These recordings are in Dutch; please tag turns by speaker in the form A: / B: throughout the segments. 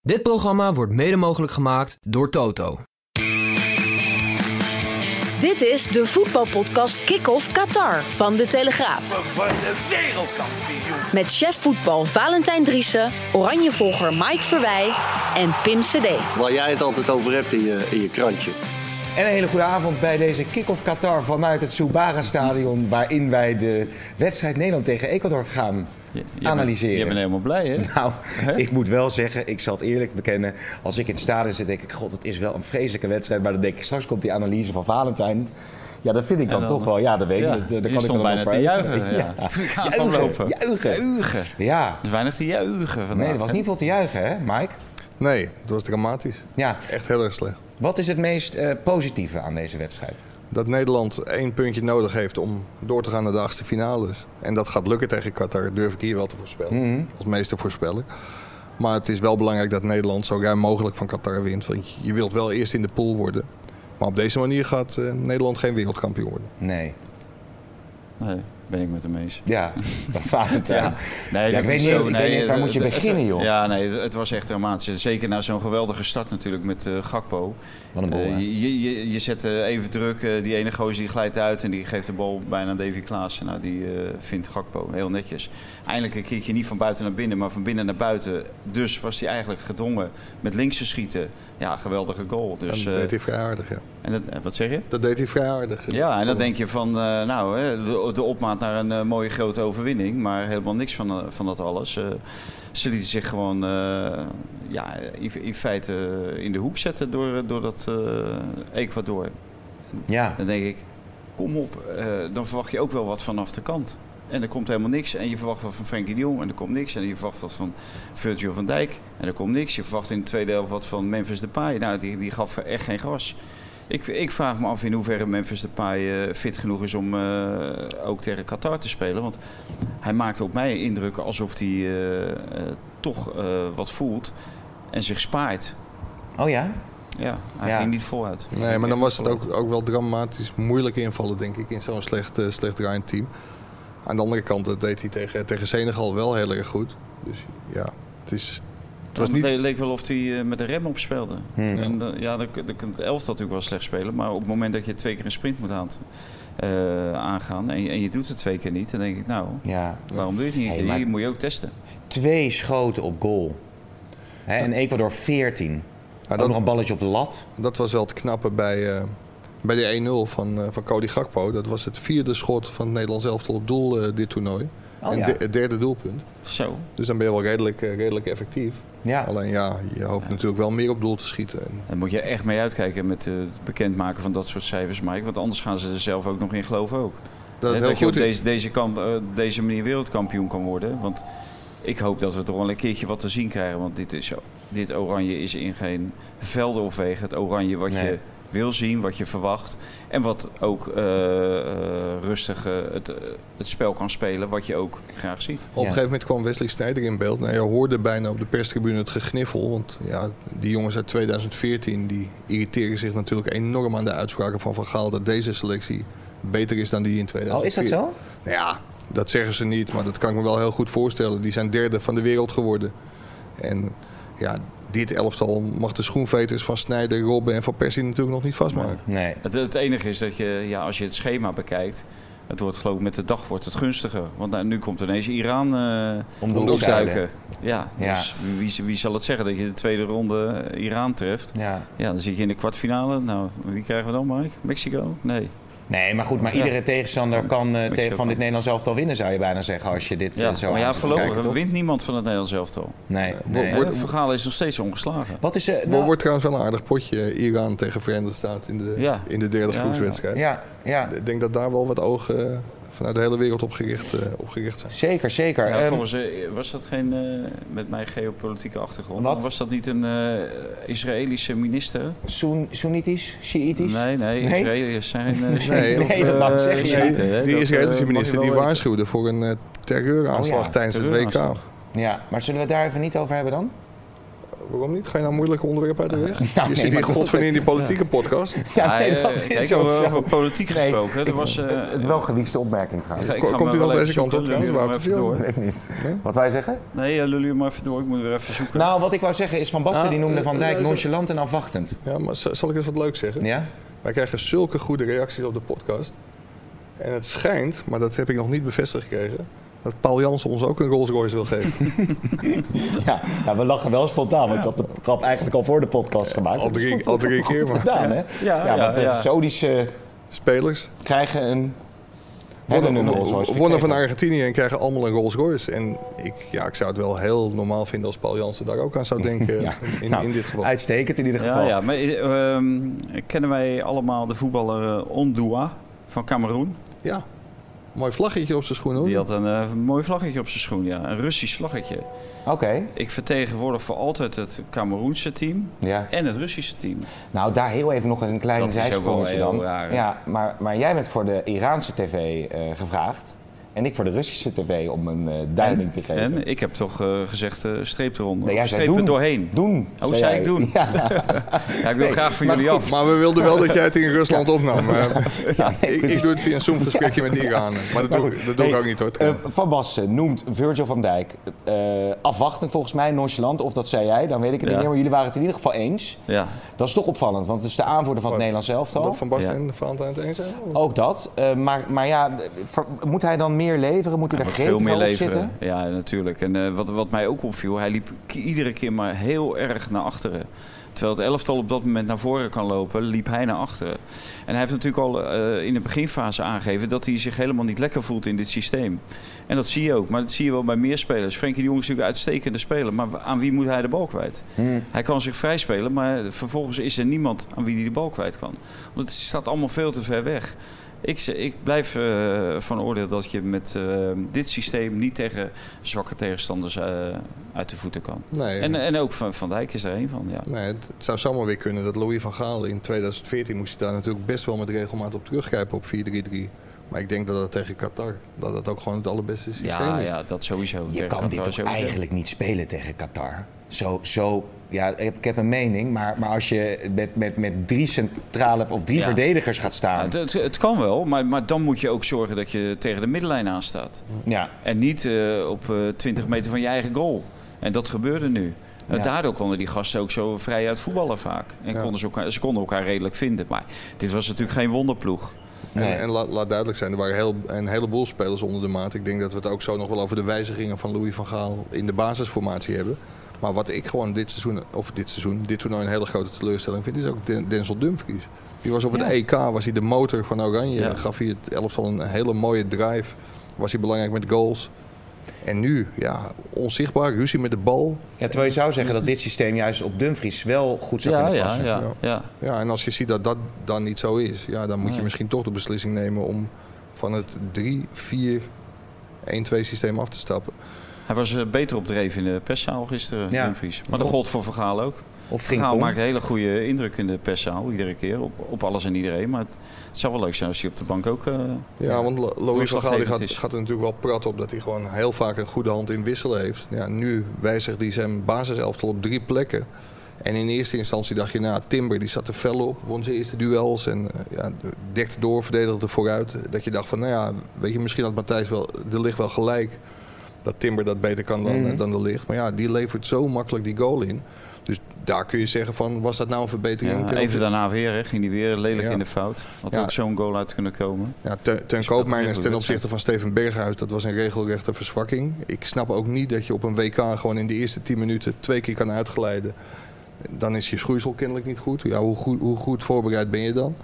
A: Dit programma wordt mede mogelijk gemaakt door Toto.
B: Dit is de voetbalpodcast Kick-Off Qatar van De Telegraaf.
C: Wat een wereldkampioen.
B: Met chef voetbal Valentijn Driessen, oranjevolger Mike Verwij en Pim Cedee.
D: Waar jij het altijd over hebt in je, in je krantje.
E: En een hele goede avond bij deze kick-off Qatar vanuit het Soubara Stadion. Waarin wij de wedstrijd Nederland tegen Ecuador gaan analyseren.
F: Je bent helemaal blij, hè?
E: Nou, ik moet wel zeggen, ik zal het eerlijk bekennen. Als ik in het stadion zit, denk ik: God, het is wel een vreselijke wedstrijd. Maar dan denk ik: straks komt die analyse van Valentijn. Ja, dat vind ik dan,
F: dan-
E: toch wel. Ja, dat weet ik.
F: Ja,
E: Dat, dat
F: je
E: kan ik
F: stond
E: dan
F: bijna
E: ook
F: te
E: voor-
F: juichen, ja. Toen ik aan het
E: Juichen,
F: lopen.
E: Juichen.
F: Juichen.
E: Ja.
F: Er is weinig te juichen vandaag.
E: Nee, er was niet veel te juichen, hè, Mike?
G: Nee, dat was dramatisch.
E: Ja.
G: Echt heel erg slecht.
E: Wat is het meest eh, positieve aan deze wedstrijd?
G: Dat Nederland één puntje nodig heeft om door te gaan naar de achtste finales. En dat gaat lukken tegen Qatar, durf ik hier wel te voorspellen.
F: Mhm.
G: Als meeste voorspeller. Maar het is wel belangrijk dat Nederland zo ruim mogelijk van Qatar wint. Want je wilt wel eerst in de pool worden. Maar op deze manier gaat eh, Nederland geen wereldkampioen worden.
E: Nee.
F: Nee, ben ik met hem eens.
E: Ja, Valentijn. Ja.
F: dat is
E: ik weet niet eens,
F: zo-
E: ik weet niet eens waar
F: het-
E: moet je
F: het- het-
E: beginnen, joh.
F: Ja, nee, het, het was echt dramatisch. Zeker na zo'n geweldige start natuurlijk met eh, Gakpo.
E: Wat een bal,
F: Eh,
E: hè?
F: je, je, je zet eh, even druk, eh, die ene gozer die glijdt uit en die geeft de bal bijna aan Davy Klaassen. Nou, die eh, vindt Gakpo heel netjes. Eindelijk een keertje niet van buiten naar binnen, maar van binnen naar buiten. Dus was hij eigenlijk gedwongen met links te schieten. Ja, geweldige goal.
G: En
F: Dus,
G: dat
F: eh,
G: deed hij vrij aardig, ja.
F: en dat, eh, wat zeg je?
G: Dat deed hij vrij aardig.
F: Ja, en dan denk je van, eh, nou, hè, de, de opmaat naar een eh, mooie grote overwinning, maar helemaal niks van, eh, van dat alles. Eh, ze lieten zich gewoon eh, ja, in, in feite eh, in de hoek zetten door, eh, door dat eh, Ecuador.
E: Ja.
F: Dan denk ik, kom op, eh, dan verwacht je ook wel wat vanaf de kant. En er komt helemaal niks. En je verwacht wat van Frenkie de Jong en er komt niks. En je verwacht wat van Virgil van Dijk en er komt niks. Je verwacht in de tweede helft wat van Memphis Depay. Nou, die, die gaf echt geen gas. Ik, ik vraag me af in hoeverre Memphis Depay eh, fit genoeg is om eh, ook tegen Qatar te spelen. Want hij maakt op mij indruk alsof hij eh, eh, toch eh, wat voelt en zich spaart.
E: Oh ja?
F: Ja, hij
E: Ja.
F: ging niet voluit.
G: Nee, maar dan was het ook, ook wel dramatisch moeilijk invallen, denk ik, in zo'n slecht, eh, slecht draaiend team. Aan de andere kant, dat deed hij tegen, tegen Senegal wel heel erg goed. Dus ja, het is...
F: Het
G: was niet-
F: le- leek wel of hij eh, met de rem op speelde.
E: Hmm.
F: En, dan- ja, dan, kun- dan kan het elftal natuurlijk wel slecht spelen. Maar op het moment dat je twee keer een sprint moet aan, eh, aangaan en, je- en je doet het twee keer niet, dan denk ik, nou,
E: Ja.
F: waarom doe je het niet?
E: Hey,
F: Hier
E: maar-
F: moet je ook testen.
E: Twee schoten op goal. Hè, en Ecuador 14. ook
G: dat-
E: Ah, nog een balletje op de lat.
G: Dat was wel het knappe bij, eh, bij de 1-0 van, eh, van Cody Gakpo. Dat was het vierde schot van het Nederlands elftal op doel eh, dit toernooi.
E: Oh,
G: en
E: ja.
G: de- het derde doelpunt.
F: Zo.
G: Dus dan ben je wel redelijk, eh, redelijk effectief.
E: Ja.
G: Alleen ja, je hoopt natuurlijk wel meer op doel te schieten. En
F: Daar moet je echt mee uitkijken met eh, het bekendmaken van dat soort cijfers, Mike. Want anders gaan ze er zelf ook nog in geloven ook.
G: dat
F: Hè,
G: het heel
F: je op
G: goed is.
F: deze, deze, kamp, eh, deze manier wereldkampioen kan worden. Want ik hoop dat we toch wel een keertje wat te zien krijgen. Want dit, is, dit oranje is in geen velden of wegen. Het oranje wat
E: Nee.
F: je wil zien, wat je verwacht. En wat ook eh, eh, rustig eh, het, eh, het spel kan spelen. Wat je ook graag ziet.
G: Op
E: Ja.
G: een gegeven moment kwam Wesley Sneijder in beeld. Nou, je hoorde bijna op de perstribune het gegniffel. Want ja, die jongens uit 2014 die irriteren zich natuurlijk enorm aan de uitspraken van Van Gaal... dat deze selectie beter is dan die in
E: Oh, is
G: 2014.
E: dat zo?
G: Nou ja, dat zeggen ze niet, maar dat kan ik me wel heel goed voorstellen. Die zijn derde van de wereld geworden. En ja, dit elftal mag de schoenveters van Sneijder, Robben en Van Persie natuurlijk nog niet vastmaken.
E: Nee.
F: Het, het enige is dat je, ja, als je het schema bekijkt. Het wordt geloof ik met de dag wordt het gunstiger. Want nou, nu komt ineens Iran eh om
E: Om de
F: de
E: hoek
F: hoek
E: zeilen.
F: duiken. Ja,
E: Ja.
F: dus wie, wie zal het zeggen dat je de tweede ronde Iran treft?
E: Ja.
F: Ja, dan zit je in de kwartfinale. Nou, wie krijgen we dan, Mike? Mexico? Nee.
E: Nee, maar goed, maar
F: Ja.
E: iedere tegenstander kan eh,
F: ik
E: tegen-
F: zeg
E: van
F: wel.
E: dit Nederlands elftal winnen, zou je bijna zeggen, als je dit
F: Ja,
E: eh, zo
F: maar ja,
E: aan zit te kijken,
F: voorlopig
E: toch?
F: wint niemand van het Nederlands elftal.
E: Nee. nee.
F: Nee,
G: wordt-
F: het verhaal is nog steeds ongeslagen.
E: Wat is eh, nou, er?
G: Maar wordt trouwens wel een aardig potje eh, Iran tegen Verenigde Staten in de,
F: Ja.
G: in de derde
F: Ja,
G: groepswedstrijd.
E: ja, ja.
G: Ik denk dat daar wel wat ogen eh, vanuit de hele wereld opgericht, eh, opgericht zijn.
E: Zeker, zeker.
F: Ja,
E: Ehm,
F: volgens, eh, was dat geen, eh, met mijn geopolitieke achtergrond,
E: Wat?
F: was dat niet een eh, Israëlische minister?
E: Soen- Soenitisch? Shiitisch?
F: Nee, nee,
E: Nee?
F: Israëliërs zijn... eh,
G: Nee,
E: Nee, dat wou ik zeggen, ja.
F: Shiiten, hè. Dat,
G: Die
F: eh, mag
G: Israëlische
F: je
G: minister
F: wel
G: die
F: weten.
G: waarschuwde voor een eh, terreuraanslag
E: Oh ja,
G: tijdens het
F: terreuraanslag.
E: Ja, maar zullen we het daar even niet over hebben dan?
G: WK. Waarom niet? Ga je nou moeilijke onderwerpen uit de weg?
F: Nou,
G: je
E: nee,
G: zit
E: maar
G: hier
E: goed,
G: godverdomme in die politieke podcast.
F: Ja,
E: nee,
F: eh,
E: dat is
F: kijk,
E: ook
F: over,
E: zo.
F: over politiek
E: Nee,
F: gesproken. hè.
E: ik
F: Er was,
E: vond-
F: eh,
E: het is wel een geliefste opmerking trouwens.
F: ik
G: Ko-
F: ga
G: komt
F: hem
G: hij dan
F: wel
G: deze
F: even
G: kant op,
F: zoeken. Lul
G: trouwens,
F: je maar
G: Wouter
F: even
G: Viel?
F: door.
E: Ik weet niet. Wat wij zeggen?
F: Nee, eh, lul je maar even door. Ik moet weer even zoeken.
E: Nou, wat ik wou zeggen is Van Basten
G: Ah,
E: die noemde
G: eh,
E: Van Dijk
G: eh, zo-
E: nonchalant en afwachtend.
G: Ja, maar z- zal ik eens wat leuks zeggen?
E: Ja?
G: Wij krijgen zulke goede reacties op de podcast. En het schijnt, maar dat heb ik nog niet bevestigd gekregen, dat Paul Jansen ons ook een Rolls Royce wil geven.
E: Ja, nou, we lachen wel spontaan, want ik had de grap eigenlijk al voor de podcast gemaakt.
G: al,
E: Dat is
G: drie,
E: goed-
G: al drie keer maar.
E: gedaan, hè?
F: Eh, Ja, ja,
E: want de
F: ja.
E: Saudische
G: Spelers
E: krijgen een... hebben een Rolls Royce
G: wonnen, wonnen van
E: gekregen.
G: Argentinië en krijgen allemaal een Rolls Royce. En ik, ja, ik zou het wel heel normaal vinden als Paul Jansen daar ook aan zou denken
E: Ja.
G: in,
E: Nou,
G: in dit geval.
E: Uitstekend in ieder
F: Ja,
E: geval.
F: ja, maar eh, ehm, kennen wij allemaal de voetballer eh, Ondua van Cameroen?
G: Ja, mooi vlaggetje op zijn schoen hoor.
F: Die had een eh, mooi vlaggetje op zijn schoen, ja. Een Russisch vlaggetje.
E: Oké,
F: Ik vertegenwoordig voor altijd het Cameroense team
E: ja.
F: en het Russische team.
E: Nou, daar heel even nog een klein
F: Dat is ook wel
E: zijsprongetje
F: heel
E: dan.
F: raar, hè?
E: ja, maar, maar jij bent voor de Iraanse tv eh, gevraagd. En ik voor de Russische tv om een eh, duiding te geven.
F: En ik heb toch eh, gezegd, eh, streep eronder.
E: Nee,
F: Of
E: jij zei
F: streep er
E: doen.
F: doorheen.
E: Doen.
F: Oh, zei ik
E: jij.
F: doen?
E: Ja,
F: Ja, ik wil graag van jullie af.
G: Maar we wilden wel dat jij het in Rusland opnam. Eh,
E: ja, nee,
G: ik, ik
E: precies.
G: doe het via een Zoom-gesprekje met de Iranen. Maar dat doe,
E: Maar
G: ik-
E: goed,
G: dat doe ik
E: nee,
G: ook niet hoor.
E: eh, van Basten noemt Virgil van Dijk eh, afwachtend volgens mij, nonchalant. Of dat zei jij, dan weet ik
F: Ja.
E: het niet meer. Maar jullie waren het in ieder geval eens.
F: Ja,
E: Dat is toch opvallend, want het is de aanvoerder van het
G: Wat?
E: Nederlands elftal.
G: Dat Van Basten
F: Ja.
G: en Valentijn het eens zijn?
E: Ook dat. Eh, maar, maar ja, ver- moet hij dan meer leveren? Moet hij
F: Hij
E: daar
F: moet veel meer
E: gretig op
F: leveren.
E: zitten?
F: Ja, natuurlijk. En eh, wat, wat mij ook opviel, hij liep ki- iedere keer maar heel erg naar achteren. Terwijl het elftal op dat moment naar voren kan lopen, liep hij naar achteren. En hij heeft natuurlijk al eh, in de beginfase aangegeven dat hij zich helemaal niet lekker voelt in dit systeem. En dat zie je ook, maar dat zie je wel bij meer spelers. Frenkie de Jong is natuurlijk een uitstekende speler, maar aan wie moet hij de bal kwijt?
E: Hmm.
F: Hij kan zich vrij spelen, maar vervolgens is er niemand aan wie hij de bal kwijt kan. Want het staat allemaal veel te ver weg. Ik, z- ik blijf eh, van oordeel dat je met eh, dit systeem niet tegen zwakke tegenstanders eh, uit de voeten kan.
G: Nee.
F: En, en ook Van, van Dijk is er een van. Ja.
G: Nee, het, het zou zomaar weer kunnen dat Louis van Gaal in 2014 moest hij daar natuurlijk best wel met regelmaat op terugkijken op 4-3-3. Maar ik denk dat dat tegen Qatar, dat dat ook gewoon het allerbeste systeem
F: Ja,
G: is.
F: ja, dat sowieso.
E: Je
F: Tegen
E: kan dit
F: Qatar
E: toch
F: sowieso.
E: eigenlijk niet spelen tegen Qatar? Zo, zo ja, ik heb, ik heb een mening, maar, maar als je met, met, met drie centrale of drie
F: Ja.
E: verdedigers gaat
F: Ja,
E: staan.
F: het, het, het kan wel, maar, maar dan moet je ook zorgen dat je tegen de middenlijn aanstaat.
E: Ja,
F: En niet eh, op eh 20 meter van je eigen goal. En dat gebeurde nu. En
E: Ja.
F: Daardoor konden die gasten ook zo vrij uit voetballen vaak. En
G: Ja.
F: konden ze, elkaar, ze konden elkaar redelijk vinden. Maar dit was natuurlijk geen wonderploeg.
E: Nee.
G: En, en laat, laat duidelijk zijn, er waren heel, een heleboel spelers onder de maat. Ik denk dat we het ook zo nog wel over de wijzigingen van Louis van Gaal in de basisformatie hebben. Maar wat ik gewoon dit seizoen, of dit seizoen, dit toernooi een hele grote teleurstelling vind, is ook Den- Denzel Dumfries. Die was op het EK, was hij de motor van Oranje.
F: Ja.
G: Gaf hij het elftal een hele mooie drive. Was hij belangrijk met goals. En nu, ja, onzichtbaar, ruzie met de bal.
E: ja, terwijl je zou zeggen dat dit systeem juist op Dumfries wel goed zou
F: Ja,
E: kunnen
F: ja,
E: passen.
F: ja, ja.
G: Ja, en als je ziet dat dat dan niet zo is, ja, dan moet je misschien toch de beslissing nemen om van het 3-4-1-2 systeem af te stappen.
F: Hij was eh, beter opdreven in de perszaal gisteren,
E: Ja.
F: Dumfries. Maar dat gold voor Vergaal ook.
E: Of
F: Vergaal
E: Frimpong.
F: maakt een hele goede indruk in de perszaal, iedere keer. Op, op alles en iedereen. Maar het, het zou wel leuk zijn als hij op de bank ook... eh,
G: Ja, want Lo- Louis van Gaal die
F: Doorslaggevend
G: gaat,
F: is.
G: gaat er natuurlijk wel prat op dat hij gewoon heel vaak een goede hand in wisselen heeft. Ja, nu wijzigt hij zijn basiselftal op drie plekken. En in eerste instantie dacht je, nou, Timber die zat er fel op, won zijn eerste duels en eh, ja, dekte door, verdedigde vooruit. Dat je dacht van, nou ja, weet je, misschien had Matthijs wel, de licht wel gelijk dat Timber dat beter kan dan,
F: Mhm.
G: eh, dan de licht. Maar ja, die levert zo makkelijk die goal in. Dus daar kun je zeggen van, was dat nou een verbetering?
F: ja,
G: ten opzichte-
F: even daarna weer, hè, ging hij weer lelijk
G: Ja.
F: in de fout. Had
G: Ja.
F: ook zo'n goal uit kunnen komen.
G: Ja, ten, ten
F: Dus dat is een
G: Koopmeiners
F: goede
G: ten
F: wedstrijd.
G: opzichte van Steven Berghuis, dat was een regelrechte verzwakking. Ik snap ook niet dat je op een WK gewoon in de eerste 10 minuten twee keer kan uitgeleiden. Dan is je schoeisel kennelijk niet goed. Ja, hoe, goed hoe goed voorbereid ben je dan?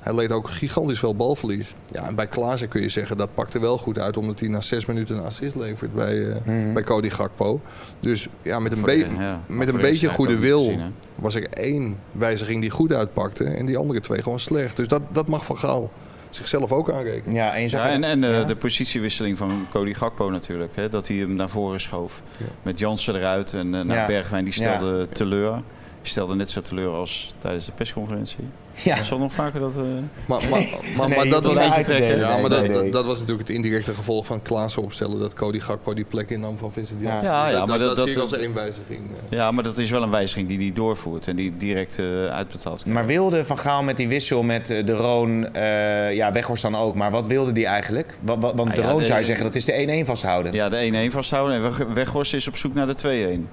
G: Hij leed ook gigantisch veel balverlies. Ja, en bij Klaassen kun je zeggen dat pakte wel goed uit, omdat hij na zes minuten een assist levert bij, eh, bij Cody Gakpo. Dus ja, met een,
F: Mhm. Voor de-
G: be-
F: ja, maar
G: met
F: voor
G: een
F: de rest
G: beetje
F: heb ik
G: goede
F: ook niet
G: wil
F: gezien, hè.
G: was er één wijziging die goed uitpakte en die andere twee gewoon slecht. Dus dat, dat mag van Gaal. zichzelf ook aanrekenen.
E: Ja, en je zag
F: Ja,
E: het-
F: en en eh, de positiewisseling van Cody Gakpo natuurlijk. Hè, dat hij hem naar voren schoof. Met Jansen eruit en eh, naar
E: Ja.
F: Bergwijn. Die
E: Ja.
F: stelde teleur. Die stelde net zo teleur als tijdens de persconferentie.
E: ja.
F: Zal nog vaker dat... eh,
G: Maar, maar, maar, maar
E: Nee,
G: dat
E: dat
G: was
E: is
G: niet
E: uit te delen.
G: Ja,
E: Nee,
G: maar
E: nee,
G: dat,
E: nee.
G: dat- dat was natuurlijk het indirecte gevolg van Klaassen opstellen. Dat Cody Gakpo die plek innam van Vincent
E: Ja.
G: Janssen. Dus
F: Ja, ja,
G: dat,
F: maar
G: dat,
F: dat-
G: zie ik
F: dat-
G: als één wijziging. eh.
F: Ja, maar dat is wel een wijziging die hij doorvoert en die direct eh, uitbetaald kan.
E: Maar wilde Van Gaal met die wissel met eh, De Roon, eh, ja, Weghorst dan ook, maar wat wilde die eigenlijk? Wa- wa- want
F: Ah,
E: De
F: ja,
E: Roon
F: de-
E: zou je zeggen, dat is de 1-1 vasthouden. Ja.
F: Ja, de 1-1 vasthouden en Weg- Weghorst is op zoek naar de 2-1.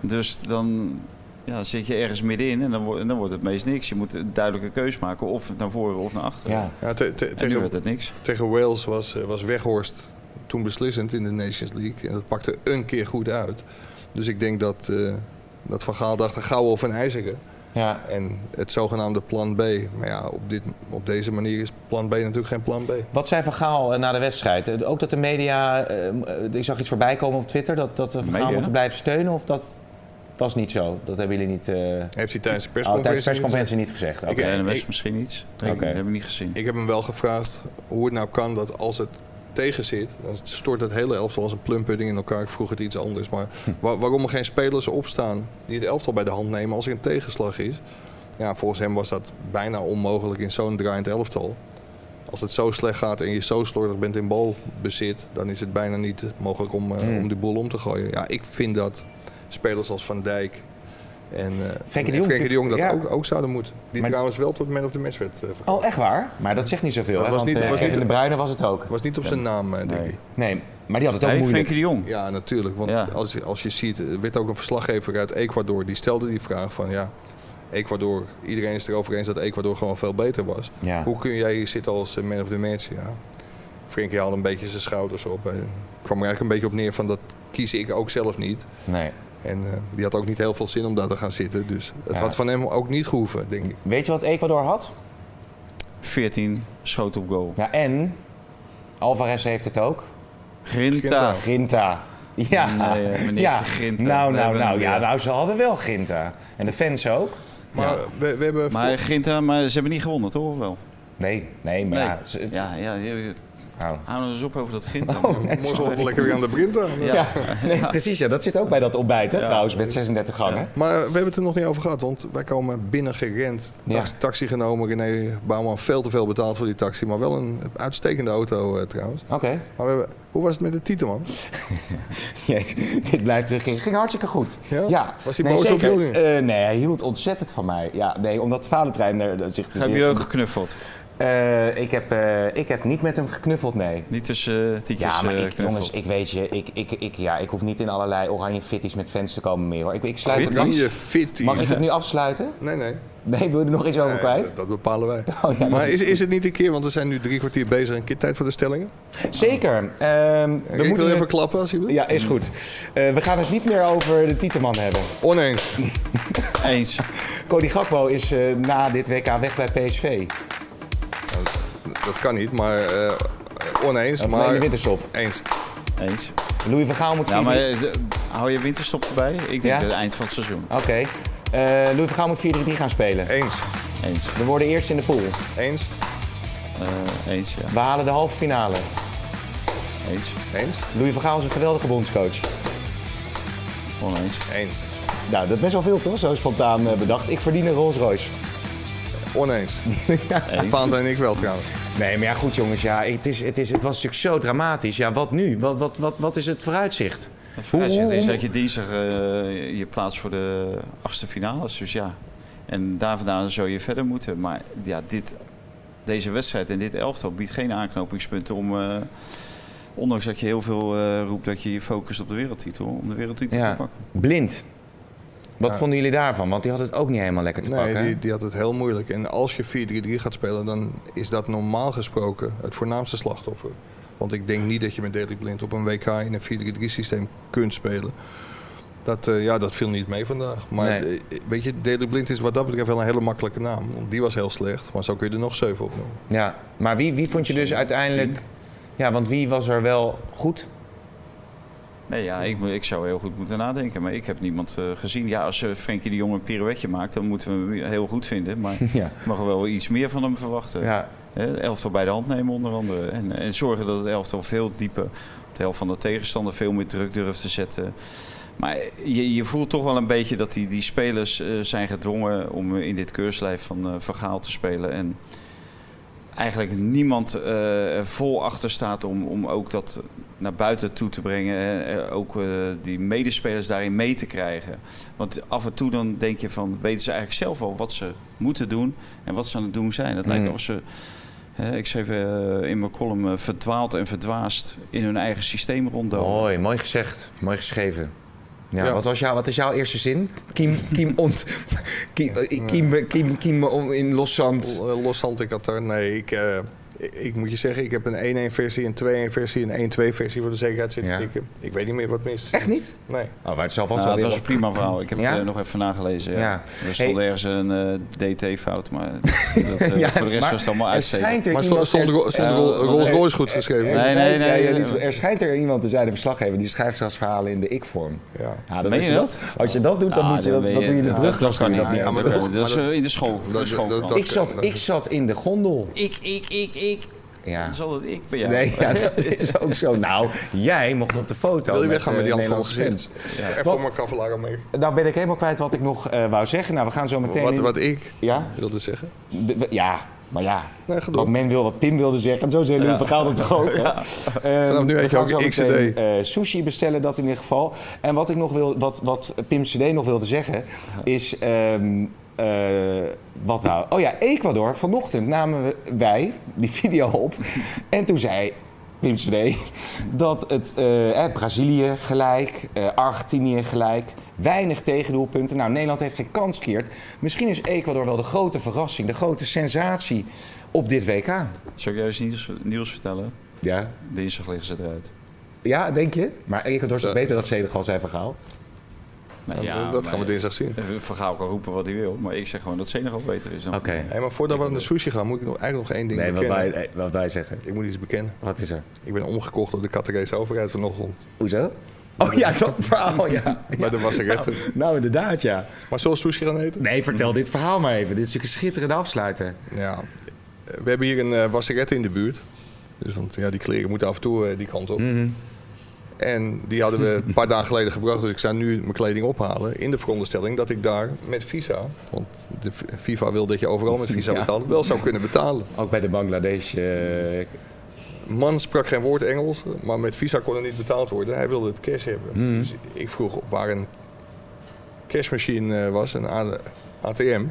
F: Dus dan ja, zit je ergens middenin en dan, wo- en dan wordt het meest niks. Je moet een duidelijke keus maken, of naar voren of naar achteren.
E: Ja.
G: Ja, te- te-
F: En nu
G: tegen,
F: werd het niks.
G: tegen Wales was, eh, was Weghorst toen beslissend in de Nations League. En dat pakte een keer goed uit. Dus ik denk dat, eh, dat Van Gaal dacht een gouden of een ijzeren.
E: Ja.
G: En het zogenaamde plan B. Maar ja, op, dit, op deze manier is plan B natuurlijk geen plan B.
E: Wat zei Van Gaal eh, na de wedstrijd? Eh, Ook dat de media, eh, eh, ik zag iets voorbij komen op Twitter, dat, dat we Van Gaal
F: Media?
E: moeten blijven steunen of dat was niet zo? Dat hebben jullie niet, eh,
G: Heeft hij
E: oh,
G: tijdens de
E: tijdens
G: persconferentie...
E: de persconferentie niet gezegd. Oké.
G: Ik-
F: Bij NMS
G: ik-
F: misschien iets.
E: Oké.
F: Ik heb ik niet gezien.
G: Ik heb hem wel gevraagd hoe het nou kan dat als het tegen zit, dan stort het hele elftal als een plumpudding in elkaar. Ik vroeg het iets anders, maar
E: Hm.
G: wa- waarom er geen spelers opstaan die het elftal bij de hand nemen als er een tegenslag is? Ja, volgens hem was dat bijna onmogelijk in zo'n draaiend elftal. Als het zo slecht gaat en je zo slordig bent in balbezit, dan is het bijna niet mogelijk om,
E: Hm.
G: eh, om die boel om te gooien. Ja, ik vind dat spelers als Van Dijk en eh
E: Frenkie de
G: en
E: Jong
G: Frenkie de Jong dat
E: ja.
G: ook, ook zouden moeten. Die
E: Maar-
G: trouwens wel tot man of the match werd eh, verkozen.
E: Oh, echt waar? Maar dat zegt niet zoveel.
G: Dat
E: hè,
G: was
E: want,
G: niet-
E: eh,
G: was niet-
E: Kevin de Bruyne was het ook.
G: was niet op zijn naam, eh, denk
F: Nee.
G: ik.
E: Nee, maar die had het ook
F: Hey,
E: moeilijk.
F: Frenkie de Jong.
G: Ja, natuurlijk. Want
F: Ja.
G: Als, je- als je ziet, er werd ook een verslaggever uit Ecuador. Die stelde die vraag van ja, Ecuador. Iedereen is het erover eens dat Ecuador gewoon veel beter was.
E: Ja.
G: Hoe kun jij hier zitten als eh, man of the match? Ja. Frenkie haalde een beetje zijn schouders op. en kwam er eigenlijk een beetje op neer van dat kies ik ook zelf niet.
E: Nee.
G: En eh, die had ook niet heel veel zin om daar te gaan zitten. Dus het
E: Ja.
G: had van hem ook niet gehoeven, denk ik.
E: Weet je wat Ecuador had?
F: 14 schoten op goal.
E: Ja, en Alvarez heeft het ook.
F: Grinta.
E: Grinta. Ja,
F: Nee, eh, meneer
E: ja.
F: Grinta.
E: Nou,
F: We
E: nou,
F: hebben
E: nou,
F: hem
E: ja,
F: weer.
E: nou, ze hadden wel Grinta. En de fans ook.
G: Maar eh, we, we hebben
F: Maar
G: voor-
F: Grinta, maar ze hebben niet gewonnen, toch? Of wel?
E: Nee, nee, maar ja, ze-
F: nee. Ja, ja, ja.
E: nou.
F: Hou nou eens op over dat Grinta.
G: morgen lekker weer aan de Brinta.
F: Ja.
E: Oh, Ja, nee, precies. Ja, dat zit ook bij dat ontbijt, hè, trouwens, met 36 gangen.
G: Maar we hebben het er nog niet over gehad, want wij komen binnen gerend. Taxi,
E: Ja.
G: taxi genomen, René Bouwman veel te veel betaald voor die taxi. Maar wel een uitstekende auto eh, trouwens.
E: Oké.
G: Maar we hebben, hoe was het met de titel, man?
E: Jezus, dit blijft terug. Het ging hartstikke goed.
G: Ja? Was hij boos op
E: zeker.
G: jullie?
E: Eh, nee, hij hield ontzettend van mij. Ja, nee, omdat Valentijn er er zich...
F: Heb je ook geknuffeld?
E: Eh, ik, heb, eh, ik heb niet met hem geknuffeld, nee.
F: Niet tussen uh, tietjes
E: Ja, maar
F: eh,
E: ik,
F: knuffel.
E: jongens, ik weet je, ik, ik, ik, ja, ik hoef niet in allerlei oranje fitties met fans te komen meer hoor. Ik, ik sluit het
G: Niet je
E: af.
G: fit.
E: Mag ik het nu afsluiten?
G: Nee, nee.
E: Nee, wil je er nog iets over
G: Nee,
E: kwijt? Oh,
G: dat, dat bepalen wij.
E: ja, dat
G: maar is, is het niet een keer, want we zijn nu drie kwartier bezig, een keer tijd voor de stellingen?
E: Zeker. Ehm, we
G: ik wil
E: het-
G: even klappen als je wil.
E: Ja, is goed. Eh, we gaan het niet meer over de Tieteman hebben.
G: Oneens.
F: Eens.
E: Cody Gakpo is eh, na dit WK weg bij PSV.
G: Dat kan niet, maar eh, oneens.
E: Of
G: maar
E: nee, de winterstop.
G: Eens.
F: Eens.
E: Louis van Gaal moet...
F: Ja,
E: vier-
F: maar eh, d- hou je winterstop erbij? Ik denk
E: Ja?
F: het eind van het seizoen.
E: Oké. Eh, Louis van Gaal moet 4-3-3 gaan spelen.
G: Eens.
F: Eens.
E: We worden eerst in de pool.
G: Eens.
F: Eh, eens, ja.
E: We halen de halve finale.
F: Eens.
G: Eens.
E: Louis van Gaal is een geweldige bondscoach.
F: Oneens.
G: Eens.
E: Nou, dat is best wel veel toch? Zo spontaan eh, bedacht. Ik verdien een Rolls Royce.
G: Oneens. Valentijn en ik wel trouwens.
E: Nee, maar ja, goed jongens. Ja, het, is, het, is, het was natuurlijk zo dramatisch. Ja, wat nu? Wat, wat, wat, wat is het vooruitzicht?
F: Ja, het
E: hoe-
F: is dat je dinsdag eh, je plaats voor de achtste finales. Dus ja. En daar vandaan zou je verder moeten. Maar ja, dit, deze wedstrijd en dit elftal biedt geen aanknopingspunten om... eh, ondanks dat je heel veel eh, roept dat je je focust op de wereldtitel. Om de wereldtitel te
E: Ja,
F: pakken.
E: blind. Wat vonden jullie daarvan? Want die had het ook niet helemaal lekker te
G: Nee,
E: pakken. hè?
G: die, die had het heel moeilijk. En als je 4-3-3 gaat spelen, dan is dat normaal gesproken het voornaamste slachtoffer. Want ik denk niet dat je met Daily Blind op een WK in een 4-3-3 systeem kunt spelen. Dat, eh, ja, dat viel niet mee vandaag. Maar
E: Nee.
G: eh, weet je, Daily Blind is wat dat betreft wel een hele makkelijke naam. Want die was heel slecht, maar zo kun je er nog zeven op noemen.
E: Ja, maar wie, wie vond je dus uiteindelijk... Ja, want wie was er wel goed?
F: Nee, ja, ik, moet- ik zou heel goed moeten nadenken, maar ik heb niemand eh, gezien. Ja, als eh, Frenkie de Jong een pirouetje maakt, dan moeten we hem heel goed vinden. Maar
E: Ja.
F: mag wel iets meer van hem verwachten.
E: Ja.
F: Hè, elftal bij de hand nemen onder andere. En, eh, en zorgen dat het elftal veel dieper op de helft van de tegenstander veel meer druk durft te zetten. Maar je, je voelt toch wel een beetje dat die, die spelers eh, zijn gedwongen om in dit keurslijf van eh Vergaal te spelen. En eigenlijk niemand eh, er vol achter staat om, om ook dat naar buiten toe te brengen. En ook eh, die medespelers daarin mee te krijgen. Want af en toe dan denk je van, weten ze eigenlijk zelf al wat ze moeten doen en wat ze aan het doen zijn. Dat lijkt
E: Mm.
F: alsof ze, eh, ik schreef eh, in mijn column, eh, verdwaald en verdwaasd in hun eigen systeem ronddomen.
E: Mooi, mooi gezegd. Mooi geschreven. Ja,
G: Ja.
E: Wat, was jou, wat is jouw eerste zin? Kiem, kiem ont. Kiem, eh, kiem, kiem, kiem on- in loszand.
G: L- eh, Los Santos, ik had daar. Nee, ik, eh, ik, ik moet je zeggen, ik heb een 1-1 versie, een 2-1 versie, een 1-2 versie voor de zekerheid zitten
E: Ja.
G: tikken. Ik weet niet meer wat mis.
E: Echt niet?
G: Nee.
E: Oh, maar het zal vast
F: Nou,
E: wel
F: het
E: weer
F: was een
E: op-
F: prima verhaal. Ik heb
E: Ja?
F: het eh, nog even nagelezen. Ja.
E: Ja.
F: Er stond
E: Hey.
F: ergens een eh, DT-fout, maar dat, eh, voor de rest
E: maar
F: was het allemaal
E: er
F: uitzeten.
E: schijnt er
G: Maar
E: iemand-
G: stond, stond, de ro- stond de ro-
F: Eh,
G: Rolls Royce goed geschreven?
F: Nee, nee, nee,
E: Ja, ja,
F: nee.
E: die- Er schijnt er iemand te zijn, de verslaggever, die schrijft zelfs verhalen in de ik-vorm.
G: Ja.
E: Ja, dan
F: Meen
E: moet
F: je dat?
E: Als je dat doet, dan,
F: Ah,
E: moet je dat,
F: ben
E: dan doe je de
F: ja,
E: brug.
F: Dat kan niet.
G: Ja, ja, maar
F: dat,
G: dat-
F: dat is
G: maar
F: eh, in de school. voor de
G: dat-
F: school
G: dat-
F: van.
G: dat-
E: Ik zat, ik zat in de gondel.
F: ik, ik, ik, ik.
E: Ja.
F: Dan zal het ik bij jou.
E: Nee, ja, dat is ook zo. Nou, jij mocht op de foto.
G: Wil je weggaan met die
E: eh,
G: hand van ons
E: Nederlandse
G: gezicht?
E: fans.
G: Er voor mijn kavelaro mee.
E: Nou ben ik helemaal kwijt wat ik nog eh, wou zeggen. Nou, we gaan zo meteen...
G: Wat,
E: in-
G: wat ik
E: Ja?
G: wilde zeggen.
E: De- we- ja, maar ja.
G: Nee, ga door.
E: wat men wil, wat Pim wilde zeggen. Zo zijn jullie verhaal dat toch ook. hè? Ehm,
G: Vanaf nu
E: we
G: heet je
E: gaan
G: ook
E: zo
G: XCD.
E: meteen, eh, sushi bestellen, dat in ieder geval. En wat ik nog wil, wat, wat Pim CD nog wilde zeggen, is. ehm, eh, wat nou? Oh ja, Ecuador. Vanochtend namen we, wij die video op. en toen zei Pim CD dat het eh, eh, Brazilië gelijk, eh, Argentinië gelijk, weinig tegendoelpunten. Nou, Nederland heeft geen kans keert. Misschien is Ecuador wel de grote verrassing, de grote sensatie op dit WK.
F: Zou ik juist nieuws, nieuws vertellen?
E: Ja,
F: Dinsdag liggen ze eruit.
E: ja denk je? Maar Ecuador is toch
G: Zo.
E: beter dan Senegal zijn verhaal.
F: Nou,
G: dat dat gaan we dinsdag zien.
F: dinsdag. Vergaal kan roepen wat hij wil, maar ik zeg gewoon dat Senegal beter is dan.
G: Hey, maar voordat we aan de sushi gaan, moet ik nog, eigenlijk nog één ding
E: Eh, Nee, wat
G: bekennen.
E: wij, nee, wat wij zeggen.
G: Ik moet iets bekennen.
E: Wat is er?
G: Ik ben omgekocht door de Catarese overheid vanochtend.
E: Hoezo? Oh ja, dat verhaal, ja.
G: Bij de wasseretten.
E: Nou, nou, inderdaad, ja.
G: Maar zullen we sushi gaan eten?
E: Nee, vertel dit verhaal maar even. Dit is natuurlijk een schitterende afsluiter.
G: Ja. We hebben hier een eh wasserette in de buurt. Dus want, ja, die kleren moeten af en toe eh, die kant op. En die hadden we een paar dagen geleden gebracht. Dus ik zou nu mijn kleding ophalen. In de veronderstelling dat ik daar met visa... Want de v- FIFA wil dat je overal met visa
E: Ja.
G: betaalt. Wel zou kunnen betalen.
E: Ook bij de Bangladesh. eh,
G: Man sprak geen woord Engels. Maar met visa kon er niet betaald worden. Hij wilde het cash hebben.
E: Hmm.
G: Dus ik vroeg waar een cashmachine eh, was. Een A- ATM.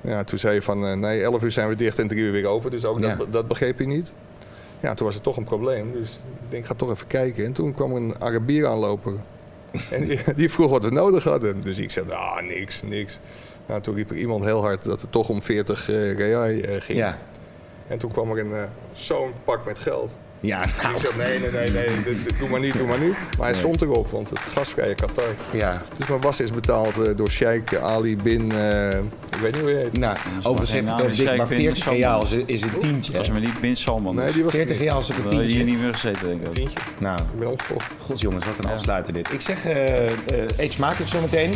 G: Ja, toen zei je van eh, nee, 11 uur zijn we dicht en 3 uur weer open. Dus ook
E: Ja.
G: dat, dat begreep hij niet. Ja, toen was het toch een probleem. Dus ik denk, ga toch even kijken. En toen kwam een Arabier aanlopen. En die, die vroeg wat we nodig hadden. Dus ik zei, nou, niks, niks. Nou, toen riep er iemand heel hard dat het toch om 40 eh real eh, ging.
E: ja.
G: En toen kwam er een, eh, zo'n pak met geld.
E: Ja,
G: En
E: nou,
G: ik zei, nee, nee, nee, nee, dit- dit- doe maar niet, doe maar niet. Maar hij stond erop, want het gastvrije Qatar.
E: ja.
G: Dus mijn was is betaald eh, door Sheikh Ali bin, eh, ik weet niet hoe hij heet.
E: Nou, overigens
F: geen
E: heb
F: naam,
E: ik het over dik,
F: Sjaak
E: maar
F: Pin,
E: 40
F: Sam.
E: real is, is een tientje.
F: Als
E: hè.
F: we niet Bin Salman.
G: Nee, die was er
E: 40
G: niet.
E: real is een
F: Dan had je hier
E: tientje.
F: niet meer gezeten, denk ik.
G: Tientje.
E: Nou,
G: Ik ben omgekocht.
E: god jongens, wat een afsluiter dit. Ik zeg, eh eh eet smakelijk zometeen.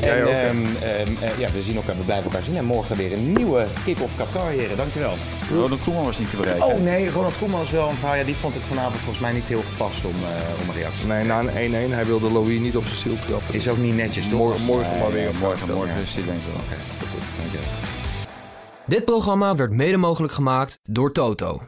G: Jij
E: en
G: ook, hè?
E: ehm, ehm, eh, ja, we zien elkaar, we blijven elkaar zien. En morgen weer een nieuwe kick-off Qatar, heren. Dankjewel.
F: Ronald Koeman was niet te bereiken.
E: Oh nee, Ronald Koeman is wel een verhaal. Ja, die vond het vanavond volgens mij niet heel gepast om, eh, om een reactie.
G: Nee, na een 1-1, hij wilde Louis niet op zijn ziel trappen.
E: Is ook niet netjes, toch?
G: Morgen, morgen maar weer.
F: Morgen, morgen is die denk ik wel.
A: Dit programma werd mede mogelijk gemaakt door Toto.